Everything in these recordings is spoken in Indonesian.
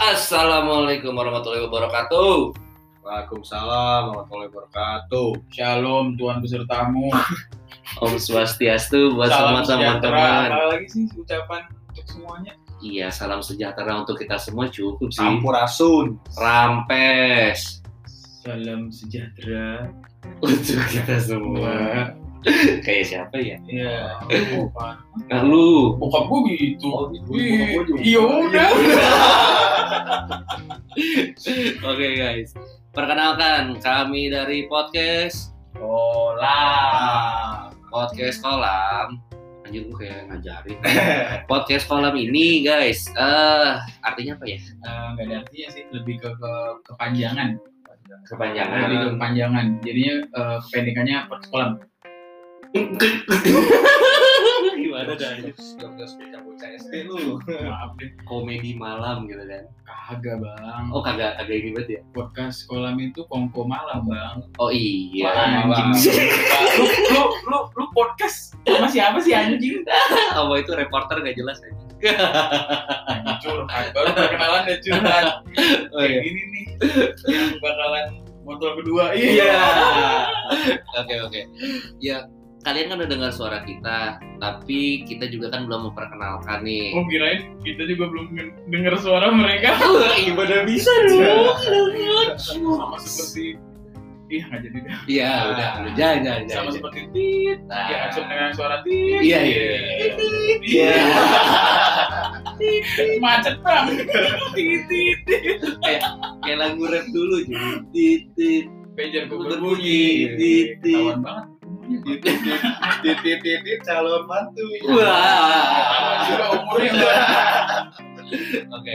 Assalamualaikum warahmatullahi wabarakatuh. Waalaikumsalam warahmatullahi wabarakatuh. Shalom Tuhan besertamu. Om Swastiastu buat semua Salam sejahtera. teman-teman. Apa lagi sih ucapan untuk semuanya? Iya, salam sejahtera untuk kita semua cukup sih. Sampurasun. Rampes Salam sejahtera. untuk kita semua. Kayak siapa ya? Ya. Nah, lu. Bokap gue gitu. Oh, gitu. Ih, Bokap gua juga. Iya udah. Oke guys, perkenalkan kami dari podcast Oh, Olah. podcast kolam. Anjir gue kayak ngajarin. Eh, Podcast kolam ini guys, eh artinya apa ya? eh, Nggak ada artinya sih. Lebih ke, ke kepanjangan. Lebih ke Kepanjangan. kepanjangan. Jadinya eh, kependekannya perkolam. Gimana dah? Jokes bocah-bocah SD lu. Maaf deh. Komedi malam gitu kan? Kagak bang. Oh kagak kagak ini banget ya? Podcast kolam itu kongko malam bang. Oh iya. Malam. Anjing. lu, lu, lu, lu podcast sama siapa sih anjing? Apa itu reporter nggak jelas aja. curhat baru perkenalan dan curhat Oh iya. Kayak gini nih yang bakalan motor kedua Iya. Oke oke. Ya kalian kan udah dengar suara kita, tapi kita juga kan belum memperkenalkan nih. Gua kirain kita juga belum nge- denger suara mereka Ibadah bisa sama seperti ih nggak jadi deh Iya udah udah jangan jangan sama jangan. seperti tit Nah. ya langsung dengan suara tit Iya iya. iya Iya. macet bang tit tit tit Kayak lagu rap dulu jadi titit. pager gue Berbunyi, berbunyi tit, tit. ketahuan banget Titit-titit calon mantu. Ketahuan Wah. juga umurnya Oke.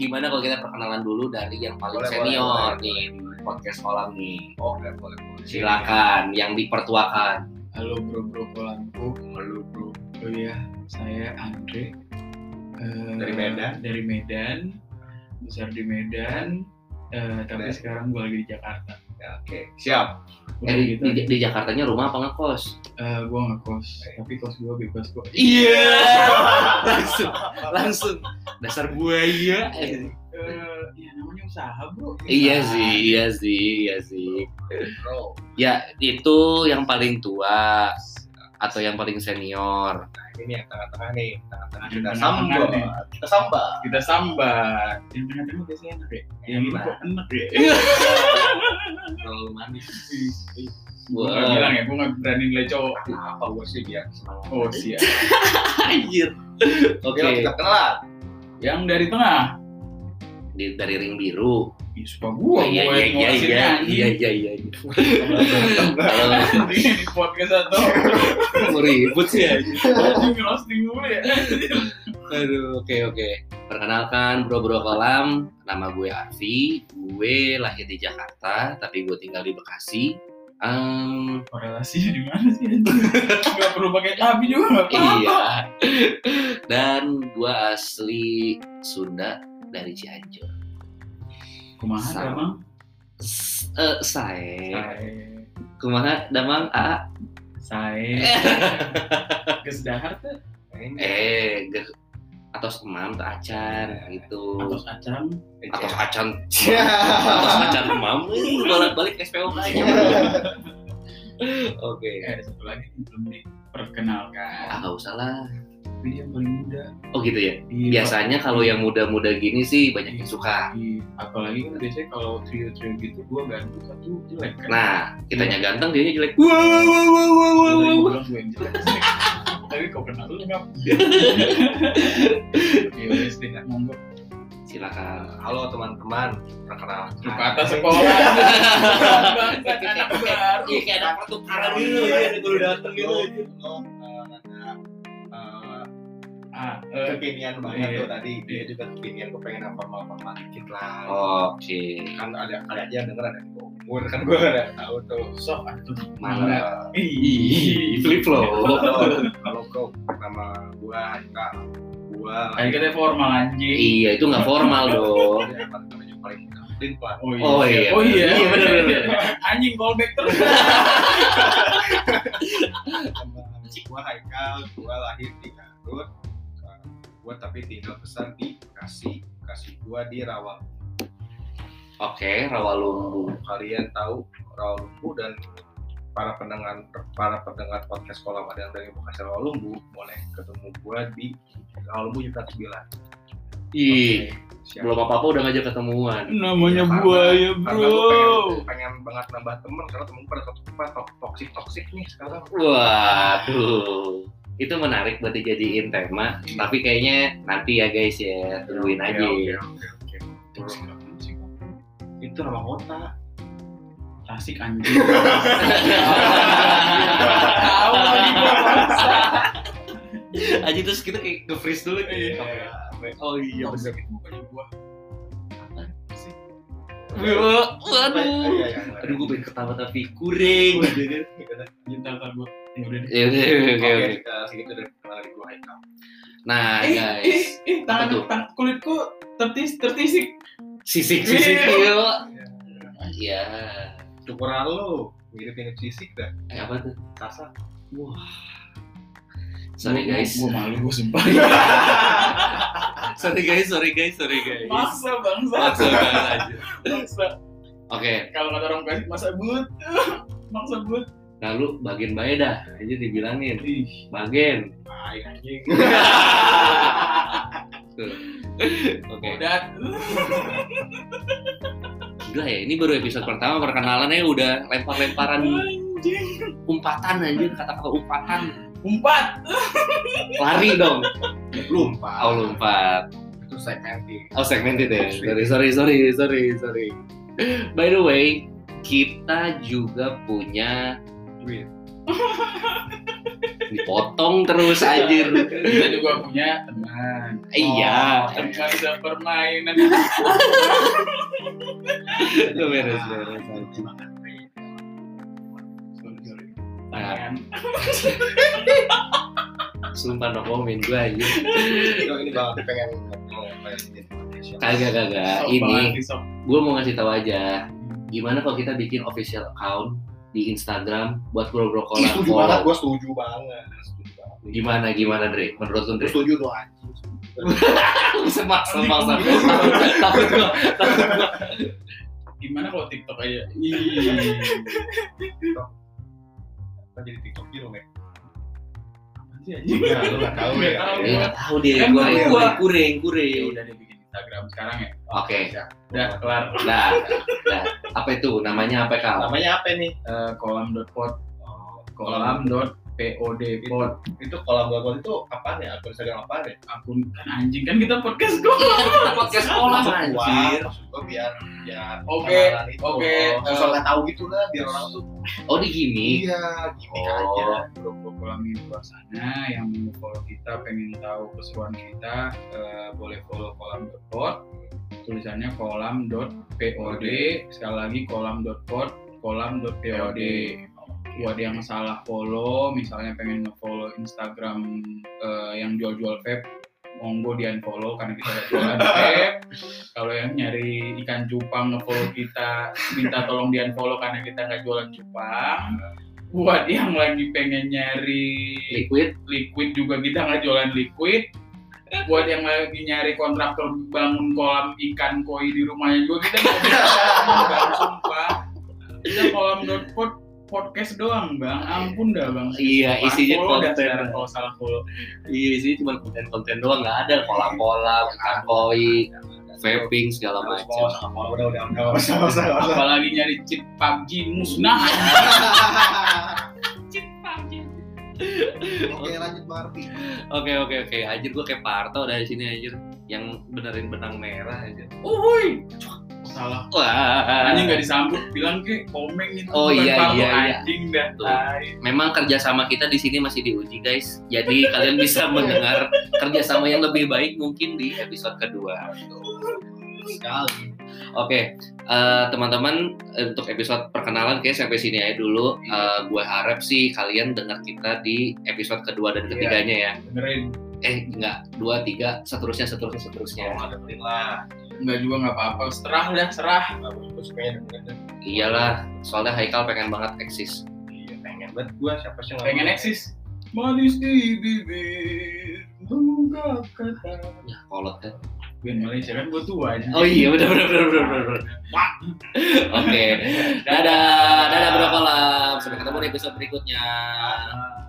Gimana kalau kita perkenalan dulu dari yang paling Boleh, senior boleh, boleh, nih di podcast kolam nih. Oh, boleh boleh. boleh. Silakan yang dipertuakan. Halo bro bro kolamku. Halo bro. Oh iya, saya Andre. Eh, Dari Medan. Dari Medan. Besar di Medan. Eh, tapi Medan. sekarang gue lagi di Jakarta. Ya, Oke, siap. Eh, Udah di, gitu. di, di Jakartanya rumah apa ngekos? Eh, gue nggak kos. Tapi kos gue bebas kok. Iya. langsung langsung dasar iya. buaya. Eh, ya namanya usaha bro. iya sih, iya sih, iya sih. Bro, Ya itu yang paling tua atau yang paling senior. nah ini yang tengah-tengah nih, tengah-tengah kita Hmm, sambat. Tengah-tengah nih. Kita sambat. Kita sambat. Yang tengah-tengah biasanya enak ya. Yang ini Enak. kok enak ya. Iya. Terlalu manis. Gue Wah. bilang ya, gue nggak berani nilai cowok. Apa gue sih dia? Oh siap. Anjir. Oke, Oke, kita kenalan. Yang dari tengah. di- dari ring biru. Ih, suka gua, iya iya gua kan. iya yang ngawasinnya, iya anjing. iya iya iya. Kalau Ini di podcast atau mau ribut sih ya. anjing roasting mulu ya. Aduh, oke oke. Perkenalkan Bro Bro Kolam, nama gue Arfi. Gue lahir di Jakarta, tapi gue tinggal di Bekasi. Ehm, Korelasinya di mana sih? anjing? Gak perlu pakai tapi juga gak apa-apa. iya. Dan gue asli Sunda dari Cianjur. Kumaha Sama. emang? S- eh, saya Sae. kumaha damang a Sae. Geus dahar teh Nah, ini. eh ge- atos emam tuh acan gitu atos acang. atos acan Ya. atos acan emam bolak balik SPO aja oke Eh, ada satu lagi yang belum diperkenalkan. ah nggak usah lah Tapi dia yang paling muda. oh gitu ya Iya, biasanya kalau yang muda-muda gini sih banyak Pak. yang suka Iya. apalagi kan biasanya kalau trio-trio gitu gua ganti satu jelek kan. nah kitanya ganteng dia jelek wow wow wow wow Gua wow, tadi wow. bilang gua yang jelek. Tapi kau kenal lu ngap. Iya, wes deh, monggo. silakan Halo teman-teman, perkenalkan. Lu ke atas sekolah Ah. bangsat anak baru iya kayak ada pertukaran gitu ya, kalau dateng gitu. Lo, eh, mana, eh, ah eh, kekinian banget Iya. tuh tadi dia Iya. juga kekinian gue pengen yang formal formal dikit lah oke kan ada ada aja yang denger ada yang gua umur kan gue nggak tahu tuh Eh, sok antum mantap ih Hmm. flip flop kalau kalau kau nama gue Haika gue kayak kita formal anjing iya itu nggak formal dong yang paling disiplin pelan Oh Oh iya. oh iya, Iya, bener, bener. Anjing callback terus. gue Haika gue lahir di Garut Eh, gua tapi tinggal besar di Bekasi. Bekasi gua di Rawalumbu. Oke, Rawalumbu. Kalian tahu Rawalumbu dan para pendengar para pendengar podcast kolam ada yang dari Bekasi Rawalumbu boleh ketemu gua di Rawalumbu Juta 9. Ih, Siap. belum apa-apa udah ngajak ketemuan. Namanya Iya, karena- buaya Karena bro. gua pengen, pengen banget nambah temen karena temen gua pada to- apa, to- toksik-toksik nih sekarang. Waduh. Itu menarik buat dijadiin tema, tapi kayaknya nanti ya guys ya, tungguin Oke, aja. Oke, oke, oke. Toxic, toxic. Itu nama kota. Klasik anjing. Tahu lagi gua bangsa. Aja terus kita kayak nge-freeze dulu nih. Oh iya. Toxic itu bukannya gua. Wah, Aduh. Waduh. Aduh gue pengen ketawa tapi kuring. Ntar ntar gua. Ya udah deh. Ya udah, oke, Oke, oke oke. eh, segitu deh kenalan dari gua Haikal. Nah Eh, eh, guys, eh, Apa tuh? tangan, tangan kulitku tertis, tertisik. sisik sisik yuk. Iya. Syukuran lo mirip-mirip sisik dah. Eh apa tuh? Kasar. Sorry Gua- guys. Gua malu, gua sumpah. Sorry guys, sorry guys, sorry guys. Maksa bangsa. Maksa banget aja. Maksa. Oke, Kalau kata orang baik, maksa but. Maksa but. nah lu bagian bae dah. Aja dibilangin. Ih, Bagian. Ay, anjing. Oke. udah. Gila ya, ini baru episode pertama perkenalannya udah lempar-lemparan Anjing. umpatan anjir, kata-kata umpatan. Umpat. Lari dong. Lumpa. Oh lompat. Ya, Itu segmenting. Oh segmented ya. Sorry sorry sorry sorry sorry. By the way, kita juga punya Duit. dipotong terus anjir. Kita juga punya teman. Iya. Teman sepermainan. Lu beres beres. Sorry, sorry. Nah, Tangan. sumpah nokomin gue anjir. Yo, ini banget pengen ngomong apa ya, di Indonesia. Kagak kagak. Sok iya, Ini banget, sok. gue mau ngasih tahu aja. Gimana kalau kita bikin official account di Instagram buat bro bro Ih, setuju banget, kolab gua setuju banget. Setuju banget. Gimana gimana Dre? Menurut lu Gua Dre? setuju tuh anjing. Semak semak Takut gue. Takut gue. Gimana kalau TikTok aja? Ih. Kan jadi TikTok hero, Mek. Apaan sih, anjing? Iya, lu nggak tahu ya. Nggak tahu Ya nggak tahu deh. Kan Gue gua- kuring Ya kuring. udah deh bikin Instagram sekarang ya. Oke. Udah kelar. Nah, nah, apa itu namanya apa kal? Namanya apa nih? Eh, kolam.pod Oh, kolam.pod pod itu kolam gabon itu ya? apa nih? Akun Instagram apa nih? akun kan anjing kan kita podcast kok. Podcast sekolah Wah, anjir. maksud gua biar biar Oke, kenalan itu, oke, oh, sosok eh, nggak tahu gitu lah biar orang tuh Oh di gini. iya Oh, gimmick Iya. aja Grup kolam di luar sana yang mau follow kita pengen tahu keseruan kita eh, boleh follow kolam.pod tulisannya kolam.pod sekali lagi kolam.pod kolam.pod buat yang salah follow misalnya pengen nge-follow Instagram eh, yang jual-jual vape monggo di unfollow karena kita gak jualan vape kalau yang nyari ikan cupang nge-follow kita minta tolong di unfollow karena kita nggak jualan cupang buat yang lagi pengen nyari Liquid. liquid juga kita nggak jualan liquid buat yang lagi nyari kontraktor bangun kolam ikan koi di rumahnya juga kita nggak bisa bang sumpah kita kolam pod podcast doang bang ampun dah bang Iya Sumpah, isinya follow dah konten. sekarang kalau salah follow Iya isinya cuma konten-konten doang nggak ada kolam-kolam, kakoi, vaping segala Terus macam. follow sama follow, udah udah udah nggak usah nggak usah nggak usah. apalagi nyari cheat PUBG musnah cheat PUBG oke lanjut Bang Arfi Oke oke oke. Anjir gue kayak Parto dari sini anjir yang benerin benang merah anjir. uhuy salah Wah. Anjing nggak disambut, bilang ke komeng itu Oh, bukan iya, palu, iya, iya. anjing dah. Tuh. Tai. Memang kerjasama kita di sini masih diuji guys. Jadi kalian bisa mendengar kerjasama yang lebih baik mungkin di episode kedua. sekali Oke, eh, teman-teman eh, untuk episode perkenalan kayak sampai sini aja dulu. Eh, gue harap sih kalian dengar kita di episode kedua dan Iya. ketiganya ya. Benerin. Eh enggak, dua, tiga, seterusnya, seterusnya, seterusnya. Iya. nggak dengerin lah Nggak juga nggak apa-apa. Serah dah, serah. nggak gue sukanya dengerin deh. Iyalah, soalnya Haikal pengen banget eksis. iya pengen banget gue siapa sih yang nggak Pengen mau. eksis. Manis di bibir, Tunggak kata. Ya, kolot kan. Band Malaysia kan gue tua aja. Oh iya, benar benar benar benar benar. Wah. Oke. Dadah, dadah bro kolam. Sampai ketemu di episode berikutnya. Ah.